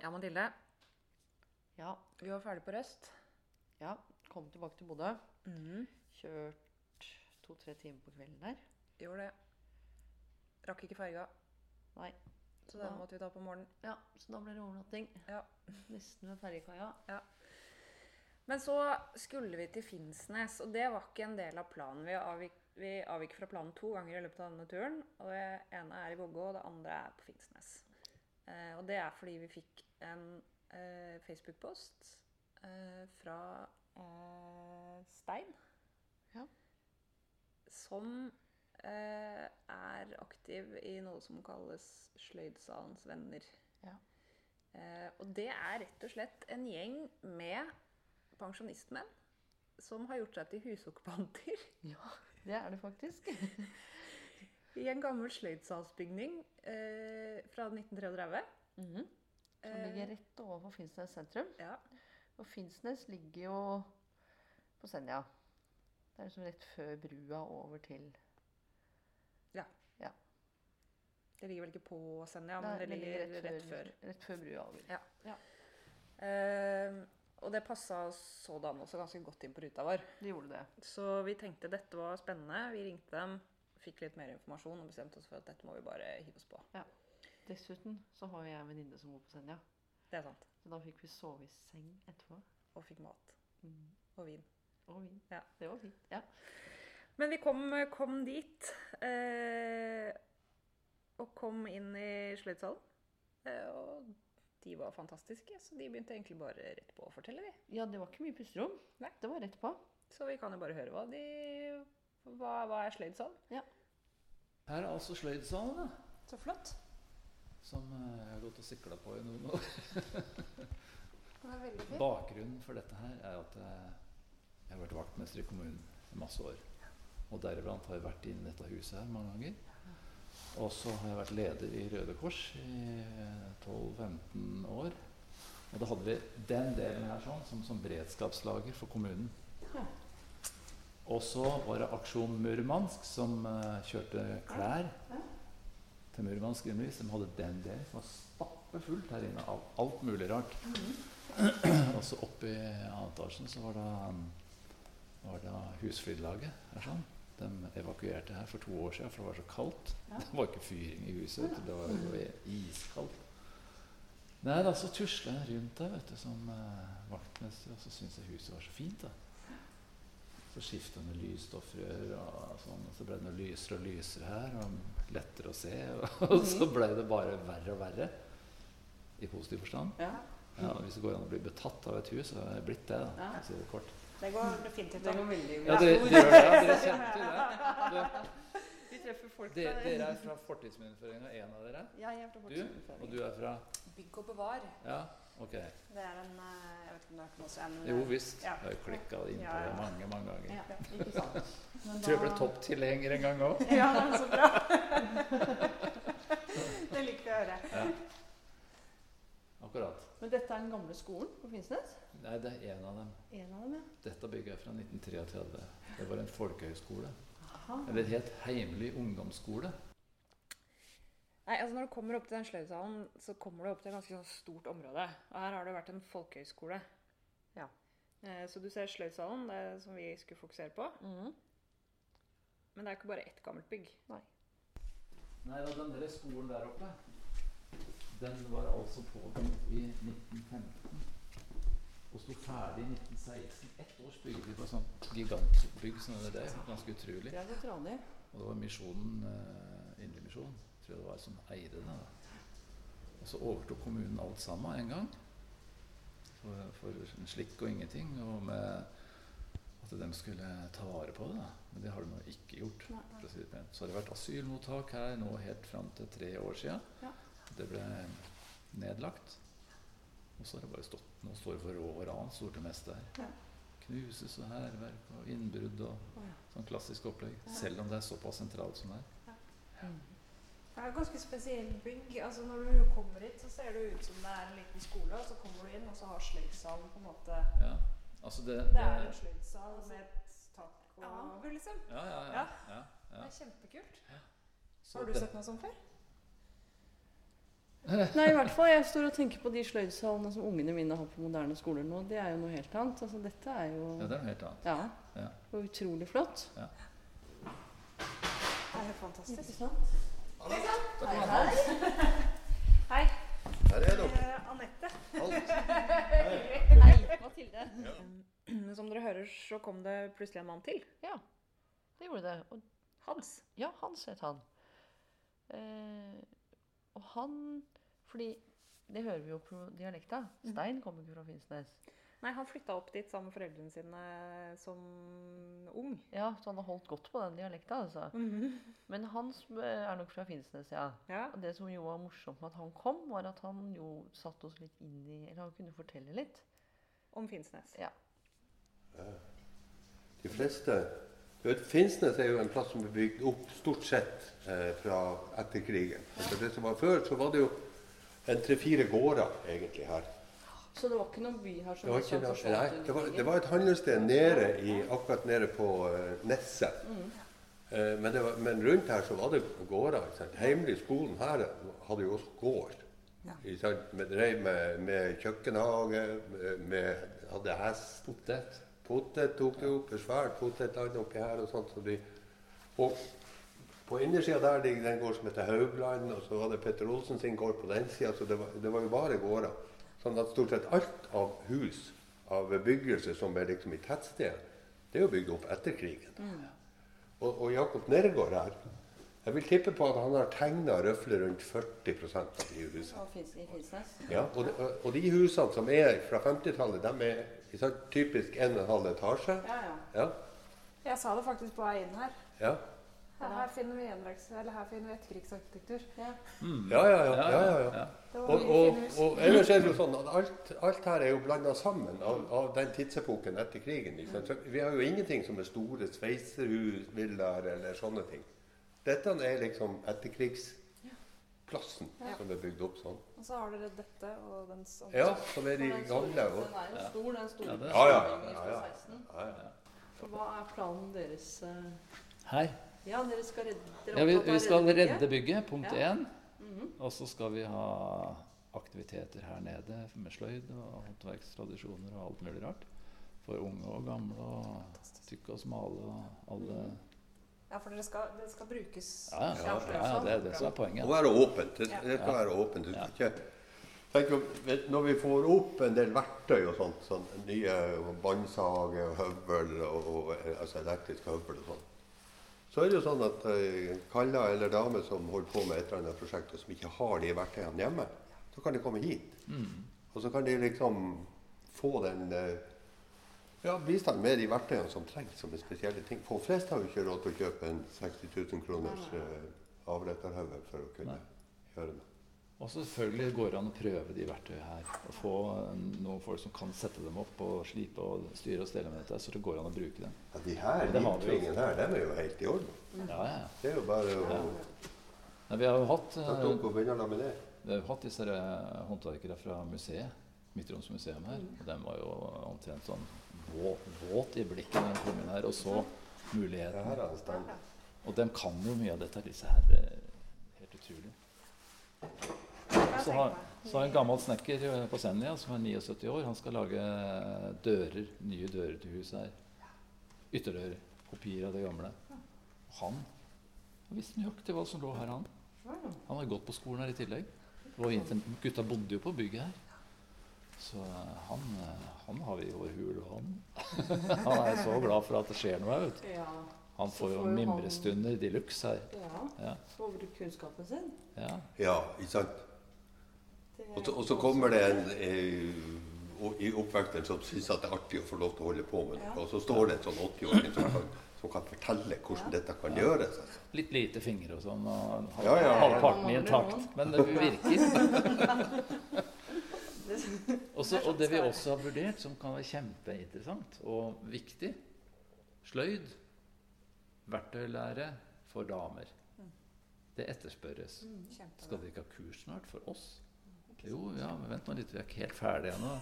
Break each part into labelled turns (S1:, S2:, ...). S1: Pernille,
S2: Ja,
S1: vi var ferdig på Røst.
S2: ja. Kom tilbake til Bodø. Kjørt to-tre timer på kvelden der.
S1: Gjorde det. Rakk ikke ferga,
S2: Nei.
S1: så den
S2: Ja.
S1: måtte vi ta på morgenen.
S2: Ja, så da ble det overnatting.
S1: Ja.
S2: Nesten ved ferjekaia.
S1: Men så skulle vi til Finnsnes, og det var ikke en del av planen. Vi avvik, vi avvik fra planen to ganger i løpet av denne turen. Og det ene er i Vågå, og det andre er på Finnsnes. Eh, og det er fordi vi fikk en eh, Facebook-post eh, fra eh, Stein.
S2: Ja.
S1: Som eh, er aktiv i noe som kalles Sløydsalens venner.
S2: Ja.
S1: Eh, og det er rett og slett en gjeng med pensjonistmenn som har gjort seg til husokkpanter
S2: Ja, det er det faktisk.
S1: i en gammel sløydsalsbygning eh, fra 1933.
S2: Mhm. Som
S1: Eh,
S2: ligger rett overfor Finnsnes sentrum.
S1: ja.
S2: Og Finnsnes ligger jo på Senja. Det er liksom rett før brua over til
S1: Det ligger vel ikke på Senja, men det ligger rett, før.
S2: Rett før brua over.
S1: Eh, og det passa sådan også ganske godt inn på ruta vår.
S2: Det gjorde det.
S1: Så vi tenkte dette var spennende. Vi ringte dem, fikk litt mer informasjon og bestemte oss for at dette må vi bare hive oss på.
S2: Dessuten så har jo jeg en venninne som bor på Senja.
S1: Det er sant.
S2: Så da fikk vi sove i seng etterpå.
S1: Og fikk mat
S2: Mhm.
S1: og vin.
S2: Og vin.
S1: Ja.
S2: Det var fint. Ja.
S1: Men vi kom, kom dit. Eh, og kom inn i sløydsalen. Eh, og de var fantastiske, så de begynte egentlig bare rett på å fortelle, de.
S2: ja, det var ikke mye pusterom.
S1: Nei.
S2: Det var rett på.
S1: Så vi kan jo bare høre hva de Hva, hva er sløydsalen?
S3: Her er altså sløydsalen, da.
S1: Så flott.
S3: Som eh, jeg har gått og sikla på i noen år.
S1: Den er veldig
S3: Bakgrunnen for dette her er at eh, jeg har vært vaktmester i kommunen i masse år. Og deriblant har jeg vært inn i dette huset her mange ganger. Og så har jeg vært leder i Røde Kors i eh, 12-15 år. Og da hadde vi den delen her sånn, som, som beredskapslager for kommunen. Og så var det Aksjon Murmansk som eh, kjørte klær til Murmansk undervis. De hadde den delen som var stappfullt her inne av alt mulig rart. Og så oppe i annen etasjen så var det, var det husflidlaget. her sånn. De evakuerte her for to år siden, for det var så kaldt. Det var ikke fyring i huset, vet du. det var jo iskaldt. Nei, da så tusla jeg rundt der vet du, som eh, vaktmester, og så syntes jeg huset var så fint. da. Så skifta med lysstoffrør, og sånn, og så ble det noe lysere og lysere her. og Lettere å se. Og så ble det bare verre og verre. I positiv forstand.
S2: Ja.
S3: Ja, Hvis det går an å bli betatt av et hus, så har jeg blitt det. da, for å si det kort.
S4: Det går definitivt an.
S3: Ja, dere, dere gjør det, ja. Dere kjente jo det.
S2: Vi treffer
S3: Du,
S2: folk
S3: dere, dere er fra Fortidsminneforeninga, én av dere?
S2: Jeg er fra
S3: Du? Og du er fra
S1: Bygg og bevar.
S3: Ja, ok.
S4: Det er en eh, Jeg vet ikke om det er noe som
S3: Jo visst.
S4: Ja.
S3: Jeg har jo klikka inn på
S4: Ja,
S3: det
S4: ja.
S3: mange, mange ganger.
S4: Ja, ikke sant. Men
S3: Tror jeg ble
S4: da-
S3: topptilhenger en gang òg.
S4: Ja, det er så bra. det liker vi å høre.
S3: Akkurat.
S2: Men dette er den gamle skolen på Finnsnes?
S3: Nei, det er én av dem.
S2: En av dem, ja.
S3: Dette bygget er fra 1933. Det var en folkehøyskole.
S2: Aha.
S3: Eller het Heimly ungdomsskole.
S1: Nei, altså Når du kommer opp til den sløydsalen, så kommer du opp til et ganske sånn stort område. Og her har det vært en folkehøyskole.
S2: Ja.
S1: Eh, så du ser sløydsalen, det er som vi skulle fokusere på.
S3: Mm.
S2: Mhm.
S1: Men det er ikke bare ett gammelt bygg.
S3: Nei, da, den der skolen der oppe, den var altså påbegynt i 1915. Og sto ferdig i 1916. Ett års byggetid på et sånt gigantbygg sånn som det der. Ganske utrolig.
S2: Det er godt ranig.
S3: Og det var misjonen, eh, Indremisjonen, tror jeg det var, som eide det. da. Og så overtok kommunen alt sammen en gang. For, for en slikk og ingenting. Og med at de skulle ta vare på det. da. Men det har de nå ikke gjort. for å si det pent. Så har det vært asylmottak her nå helt fram til tre år sia.
S2: Ja.
S3: Det ble nedlagt. Og så har det bare stått Nå står det for rå og ran stort det meste her.
S2: Ja.
S3: Knuses og hærverk og innbrudd og
S2: Å, ja.
S3: Sånn klassisk opplegg. Selv om det er såpass sentralt som det er.
S4: Det er et ganske spesielt bygg. Altså Når du kommer hit, så ser det ut som det er en liten skole, og så kommer du inn, og så har sløydsalen på en måte
S3: Ja. Altså det,
S4: Det er en sløydsal med et tak og
S2: Ja.
S4: over, liksom.
S3: ja, ja, ja,
S4: Ja.
S3: ja,
S4: Det
S3: ja.
S4: er kjempekult.
S3: Så
S4: Har du
S3: det-
S4: sett noe sånt før?
S5: Nei, i hvert fall. Jeg står og tenker på de sløydsalene som ungene mine har på moderne skoler nå. Det er jo noe helt annet. Altså, dette er jo
S3: Ja, det er noe helt annet.
S5: Ja.
S3: Ja.
S5: Det var utrolig flott.
S4: Det er jo fantastisk.
S5: sant?
S4: Hei,
S6: Her er dere.
S4: eh, Anette.
S6: Alt.
S5: Hei, Mathilde.
S1: Men Som dere hører, så kom det plutselig en mann til.
S2: Det gjorde det. Og
S1: Hans.
S2: Ja, Hans het han. Eh, og han Fordi det hører vi jo på dialekta.
S5: Mm.
S2: Stein kommer ikke fra Finnsnes.
S1: Nei, han flytta opp dit sammen med foreldrene sine som ung.
S2: Ja, Så han har holdt godt på den dialekta, altså.
S4: Mhm.
S2: Men Hans eh, er nok fra Finnsnes, ja.
S1: Ja.
S2: Og det som jo var morsomt med at han kom, var at han jo satte oss litt inn i Eller han kunne fortelle litt.
S1: Om Finnsnes.
S2: Ja.
S6: De fleste du vet, Finnsnes er jo en plass som er bygd opp stort sett eh, fra etter krigen. Altså det som var før, så var det jo en tre-fire gårder egentlig her.
S5: Så det var ikke noen by her som
S6: Det var, ikke,
S5: liksom
S6: noe-
S5: forsvant
S6: nei,
S5: under
S6: det var,
S5: krigen?
S6: det var et handelssted nede i, akkurat nede på eh, Nesset.
S5: Mm.
S6: Eh, men, det var, men rundt her så var det gårder. ikke sant? Heimelig skolen her hadde jo også gård. Ikke sant? Med, drev med, med kjøkkenhage, med, med, hadde hest.
S3: Potet.
S6: Potet tok du opp, en svær potetland oppi her og sånt. Så de, og på innersida der ligger det en gård som heter Haugland, og så var det Petter Olsen sin gård på den sida. Så det var, det var jo bare gårder. Sånn at stort sett alt av hus, av bebyggelse som er liksom i tettstedet, det er jo bygd opp etter krigen. Og, og Jakob Nergård her, jeg vil tippe på at han har tegna røfle rundt 40 av de husene.
S5: Av Finns- I Finnsnes?
S6: Ja, og, de, og de husene som er fra 50-tallet, de er ikke sant, typisk 1,5 etasje.
S5: Ja, ja.
S6: Ja,
S4: Jeg sa det faktisk på vei inn her.
S6: ja.
S4: Her, her finner vi gjenværelse, eller her finner vi etterkrigsarkitektur.
S6: Ja, ja, ja. ja, ja, ja.
S4: Det var
S6: Og,
S4: mye
S6: og,
S4: fine hus.
S6: og ellers er det jo sånn at alt, alt her er jo blanda sammen av, av den tidsepoken etter krigen. Ikke sant? Så vi har jo ingenting som er store sveiserhus, villaer eller sånne ting. Dette er liksom etterkrigsplassen som er bygd opp sånn.
S4: Og så har dere dette og den som
S6: Ja, som er de
S5: Den er stor,
S6: gamle. Og,
S5: Den er jo stor, den store.
S3: Ja, det er
S6: ja, ja,
S5: bygningen
S6: ja,
S5: fra
S6: ja.
S5: 16.
S6: ja, ja.
S5: Hva er planen deres? eh?
S3: Hei.
S5: Ja, dere skal redde dere er
S3: Ja, vi,
S5: opptatt av å
S3: vi skal
S5: bygget.
S3: redde bygget, punkt
S5: Ja.
S3: én.
S4: Mhm.
S3: Og så skal vi ha aktiviteter her nede med sløyd og håndverkstradisjoner og alt mulig rart. For unge og gamle og tykke og smale og
S4: Mhm.
S3: alle
S4: Ja, for dere skal, det skal brukes.
S3: Ja, ja. ja, ja det er det som er poenget.
S6: Å være åpent. Det, det skal være åpent. Du skal ikke tenk, om- vet, Når vi får opp en del verktøy og sånt, sånn nye båndsage og høvel, og, og, altså elektrisk høvel og sånn, så er det jo sånn at eh, kaller eller damer som holder på med et eller annet prosjekt, og som ikke har de verktøyene hjemme, så kan de komme hit. Og så kan de liksom få den eh, ja, bistand med de verktøyene som trengs som er spesielle ting. Folk flest har jo ikke råd til å kjøpe en 60 000 kroners eh, avretterhøvel for å kunne
S3: Nei.
S6: gjøre det.
S3: Og selvfølgelig går det an å prøve de verktøyene her. Og få eh, noen folk som kan sette dem opp og slipe og styre og stelle med dette. Så det går an å bruke dem.
S6: Ja, de her
S3: det har vi jo.
S6: livtvingene her, dem er jo helt i orden.
S3: Ja, ja. ja.
S6: Det er jo bare å
S3: Nei, vi har jo hatt, eh,
S6: sette opp og begynne å laminere.
S3: vi har jo hatt disse eh, håndverkere fra museet. Midtroms museum her. Og de var jo omtrent sånn vå- våt i blikket når de kom inn her og så
S6: Det her
S3: mulighetene.
S6: er en stand.
S3: Og de kan jo mye av dette, disse her. eh, Helt utrolig. Så har, så har en gammel snekker eh, på Senja som er 79 år, han skal lage eh, dører, nye dører til huset her. Ytterdører. Kopier av det gamle. Og han han visste nøyaktig hva som lå her, han. Han har gått på skolen her i tillegg. Det var jo inntil, gutta bodde jo på bygget her. Så eh, han, eh, han har vi i vår hule, han. han er så glad for at det skjer noe her, vet du.
S5: Ja,
S3: Han får
S5: får
S3: jo
S5: jo han-
S3: mimrestunder de luxe her.
S5: ja.
S3: Ja,
S5: Få bruke kunnskapen sin.
S3: ja.
S6: Ja, ikke sant?
S5: Det
S6: Og, så- og så kommer det en eh, o- i oppvekten som syns at det er artig å få lov til å holde på med det. Og så står det en sånn 80-åring som, kan- som kan fortelle hvordan dette kan gjøres. Altså.
S3: Litt lite fingre og sånn, og halv,
S6: Ja, ja, ja.
S3: halvparten intakt. Men det virker. Og så- og det vi også har vurdert, som kan være kjempeinteressant og viktig Sløyd. Verktøylære for damer. Det etterspørres. Skal dere ikke ha kurs snart for oss? Jo, ja, men vent nå litt, vi er ikke helt ferdige ennå.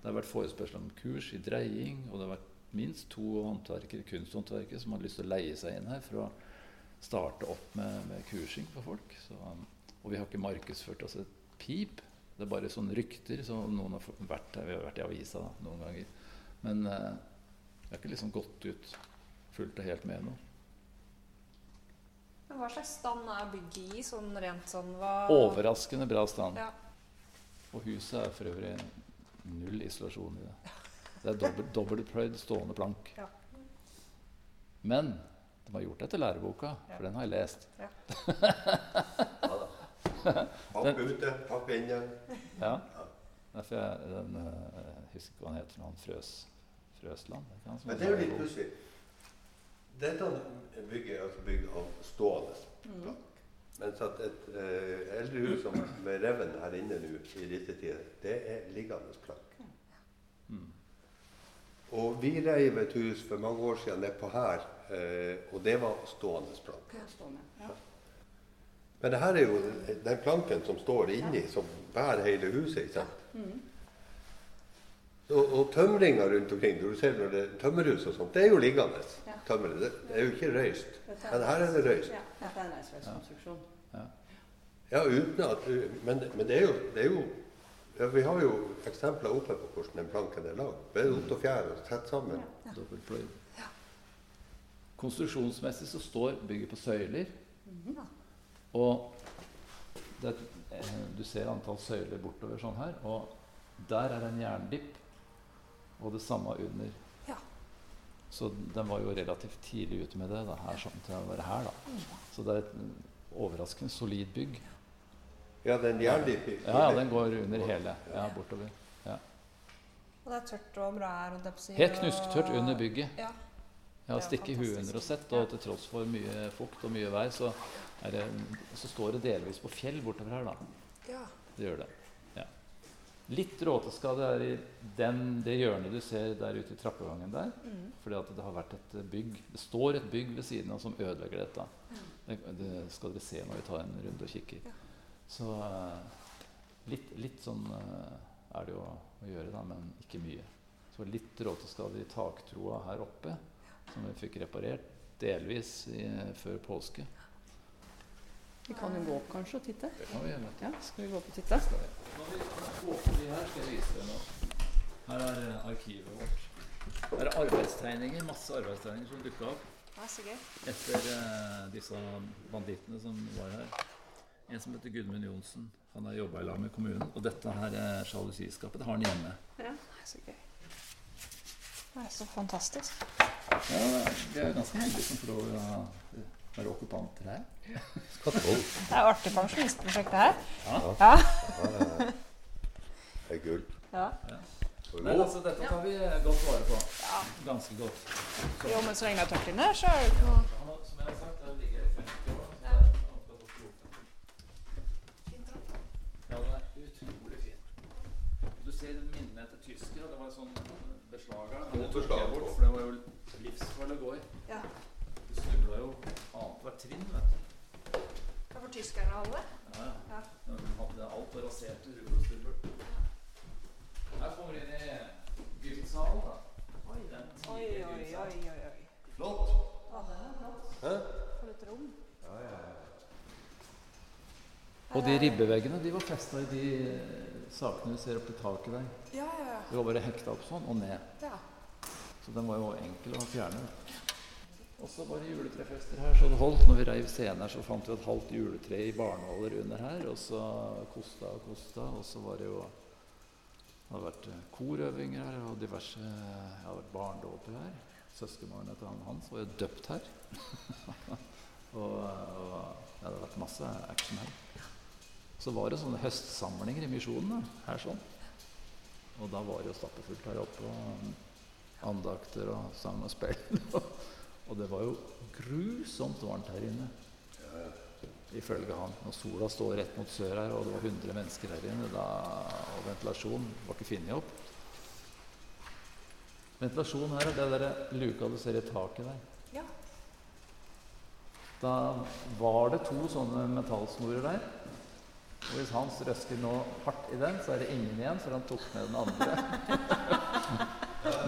S3: Det har vært forespørsel om kurs i dreying, og det har vært minst to håndverkere, kunsthåndverkere som har lyst til å leie seg inn her for å starte opp med, med kursing for folk. Så, um, og vi har ikke markedsført oss et pip. Det er bare sånne rykter. Så noen har fått- vært der, vi har vært i avisa da, noen ganger. Men eh, jeg har ikke liksom gått ut fullt og helt med nå.
S4: Men hva slags stand er bygget i? Sånn rent sånn hva
S3: Overraskende bra stand.
S4: Ja.
S3: Og huset er for øvrig null isolasjon i det. Det er dobbelt- dobbeltpløyd stående plank.
S4: Ja.
S3: Men de har gjort det etter læreboka, for den har jeg lest.
S6: Papp ute, papp inne.
S3: Ja. Derfor jeg den, eh, jeg husker ikke hva han heter, men han frøs Frøsland. er ikke han som
S6: Men det er jo
S3: har
S6: litt
S3: læreboka?
S6: pussig. Dette bygget er altså bygd av stående plank. Mens at et eh, eldre hus som med reven her inne nå i disse tider, det er liggende plank.
S3: Mm.
S6: Og vi reiv et hus for mange år siden nedpå her, eh, og det var stående plank. Men det her er jo den planken som står inni, som bærer hele huset. ikke sant? Og, og tømringa rundt omkring, når du ser når det er tømmerhus og sånt, det er jo liggende. Tømmeret. Det, det er jo ikke røyst. Men her er det røyst.
S5: Ja, det er en reiseveikonstruksjon.
S6: Ja, uten at Men, men det er jo, det er jo ja, Vi har jo eksempler oppe på hvordan den planken er lagd. Både opp og fjær og tett sammen.
S3: Dobbeltpløyd. Konstruksjonsmessig så står bygget på søyler. Og det, eh, du ser antall søyler bortover sånn her, og der er en jerndipp, og det samme under.
S4: Ja.
S3: Så den var jo relativt tidlig ute med det, da, her, sånn til å være her, da. Så det er et mm, overraskende solid bygg.
S6: Ja, den jerndipp
S3: Ja, ja, den går under hele, ja, bortover.
S4: Og det er tørt og bra her. Og det er på siden,
S3: Helt
S4: og-
S3: knusktørt under bygget.
S4: Ja.
S3: Jeg har
S4: Det er
S3: stikket huet
S4: fantastisk.
S3: under og sett, og til tross for mye fukt og mye vær, så, er det, så står det delvis på fjell bortover her, da.
S4: ja.
S3: Det gjør det. Ja. Litt råteskade er i den, det hjørnet du ser der ute i trappegangen der.
S4: Mm.
S3: Fordi at det har vært et eh, bygg Det står et bygg ved siden av som ødelegger dette. Det, det skal dere se når vi tar en runde og kikker.
S4: Ja.
S3: Så eh, litt, litt sånn eh, er det jo å gjøre, da, men ikke mye. Så litt råteskader i taktroa her oppe, som vi fikk reparert delvis i, eh, før påske.
S5: Vi kan jo gå opp kanskje og titte.
S3: Det kan vi gjøre.
S5: Ja, skal vi gå opp og titte?
S3: Når vi går forbi her, skal jeg vise dere noe. Her er eh, arkivet vårt. Her er arbeidstegninger, masse arbeidstegninger som dukka opp.
S4: Det er så gøy.
S3: etter eh, disse bandittene som var her. En som heter Gudmund Johnsen. Han har jobba i lag med kommunen. Og dette her eh, sjalusiskapet, det har han hjemme.
S4: Det er så gøy. Det er så fantastisk.
S3: Ja, Vi er ganske heldige som får lov å ha- være okkupanter her.
S4: Det er artig pensjonistprosjekt det her.
S6: Det er gull.
S4: Ja.
S6: Og
S3: Men
S6: nå-
S3: altså, dette tar vi eh, godt vare på. Ganske godt.
S4: Jo, men så lenge det er tørt inne, så er det ikke noe
S3: Han har- Som jeg har sagt, den ligger i 50 år. så det er- han skal få skrote. Ja, den er utrolig fin. Du ser minnene etter tysker, og det var en sånn beslager. da, men det tok jeg bort, For det var jo livsfarlig å gå i.
S4: Ja.
S3: Du snubla jo annethvert trinn, vet du.
S4: Det er for tyskerne å holde.
S3: Ja,
S4: Ja.
S3: ja. Den hadde alt og raserte rull og stubbel. Her kommer vi inn i gymsalen, da. Oi, den
S4: Oi,
S3: tidlige
S4: oi,
S3: gymsalen.
S4: oi, oi. oi.
S6: Flott. Hæ?
S4: For et rom.
S3: Og de ribbeveggene de var festa i de eh, sakene du ser oppi taket der.
S4: Ja, ja, ja.
S3: De var bare hekta opp sånn og ned.
S4: ja.
S3: Så den var jo enkel å fjerne. Og så var det juletrefester her, så det holdt. Når vi reiv scenen her, så fant vi et halvt juletre i barnåler under her. Og så kosta og kosta, og så var det jo Det hadde vært eh, korøvinger her, og diverse Det har vært barndåper her. Søskenbarnet til han hans var jo døpt her. og, og ja, det har vært masse action her. Så var det sånne høstsamlinger i Misjonen da, her sånn. Og da var det jo stappfullt her oppe. og andakter og sang og spill. og det var jo grusomt varmt her inne. Ifølge han. Når sola står rett mot sør her, og det var 100 mennesker her inne, da, og ventilasjon var ikke funnet opp. Ventilasjon her er det der luka du ser i taket der.
S4: Ja.
S3: Da var det to sånne metallsnorer der. Og hvis Hans røsker nå hardt i den, så er det ingen igjen, for han tok med den andre.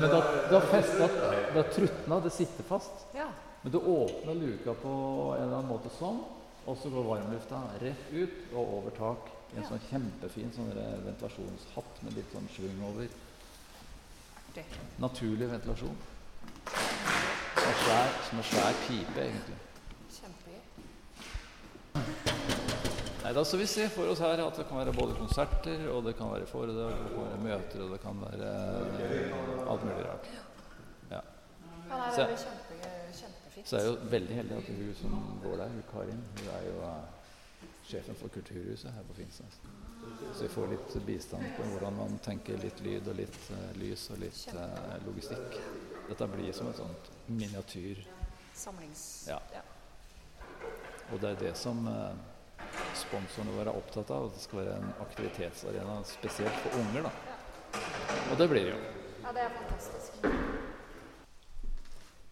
S3: Men da, da festa Da trutna, det sitter fast.
S4: Ja.
S3: Men du åpner luka på en eller annen måte sånn, og så går varmlufta rett ut og over tak. I en sånn kjempefin sånn der ventilasjonshatt med litt sånn sving over.
S1: Artig.
S3: Naturlig ventilasjon. Som en svær, som en svær pipe, egentlig.
S4: Kjempegøy.
S3: Nei, da, så Vi ser for oss her at det kan være både konserter, og det kan være foredrag, og det kan være møter og det kan være eh, alt mulig rart.
S4: Ja, nei,
S3: Så-
S4: det blir kjempegøy. Kjempefint.
S3: Så jeg er jo veldig heldig at hun som går der, hun Karin, hun er jo eh, sjefen for Kulturhuset her på Finnsnes. Så vi får litt bistand på hvordan man tenker litt lyd og litt eh, lys og litt eh, logistikk. Dette blir som et sånt miniatyr
S4: Samlings...
S3: Ja. Og det er det som eh, sponsorene våre er opptatt av, at det skal være en aktivitetsarena spesielt for unger. da. Og det blir det jo.
S4: ja, det er fantastisk.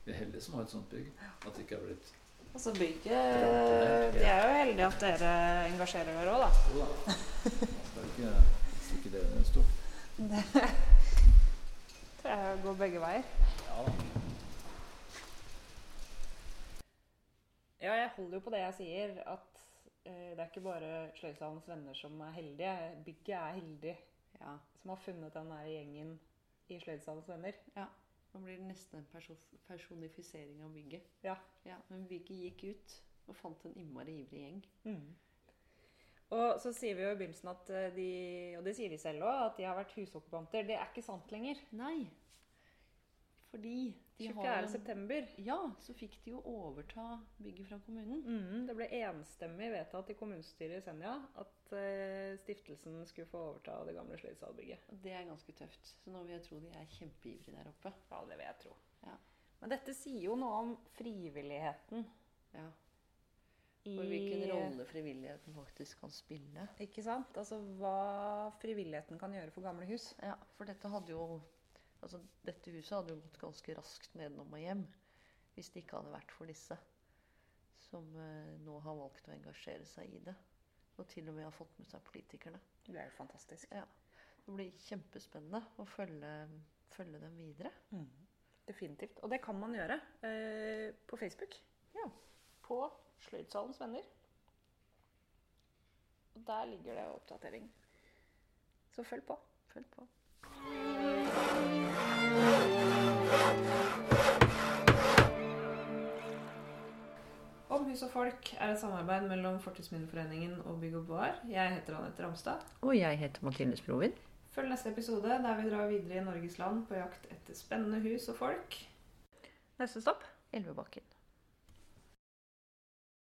S3: Vi er heldige som har et sånt bygg. At det ikke er blitt
S4: Altså bygget De er jo heldige at dere engasjerer dere òg, da.
S3: Jo da. Det er ikke, ikke det det står.
S4: Det går begge veier.
S3: Ja da.
S1: Ja, jeg holder jo på det jeg sier, at eh, det er ikke bare Sløydsalens venner som er heldige. Bygget er heldig
S5: Ja.
S1: som har funnet den der gjengen i Sløydsalens venner.
S5: Nå blir det nesten en perso- personifisering av bygget.
S1: Ja.
S5: men Vigge gikk ut og fant en innmari ivrig gjeng.
S1: Mm. Og så sier vi jo i begynnelsen at eh, de, og det sier de selv òg, at de har vært husokkupanter. Det er ikke sant lenger.
S5: Nei, fordi de har
S1: 24.
S5: en,
S1: september.
S5: Ja, så fikk de jo overta bygget fra kommunen.
S1: Mm, det ble enstemmig vedtatt i kommunestyret i Senja at eh, stiftelsen skulle få overta det gamle Sløydsalbygget.
S5: Og det er ganske tøft. Så nå vil jeg tro de er kjempeivrige der oppe.
S1: Ja, det vil jeg tro.
S5: Ja.
S1: Men dette sier jo noe om frivilligheten
S5: Ja.
S1: i
S5: Og hvilken rolle frivilligheten faktisk kan spille.
S1: Ikke sant? Altså hva frivilligheten kan gjøre for gamle hus.
S5: Ja, for dette hadde jo Altså, dette huset hadde jo gått ganske raskt nedenom og hjem hvis det ikke hadde vært for disse som eh, nå har valgt å engasjere seg i det. Og til og med har fått med seg politikerne.
S1: Det er jo fantastisk.
S5: Ja. Det blir kjempespennende å følge, følge dem videre.
S1: Definitivt. Og det kan man gjøre eh, på Facebook.
S5: Ja.
S1: På Sløydsalens venner. Og der ligger det oppdatering. Så følg på.
S5: Følg på.
S1: Om hus og folk er et samarbeid mellom Fortidsminneforeningen og Bygg og Bar. Jeg heter Anette Ramstad.
S2: Og jeg heter Mathilde Sprovin.
S1: Følg neste episode der vi drar videre i Norges land på jakt etter spennende hus og folk. Neste stopp
S5: Elvebakken.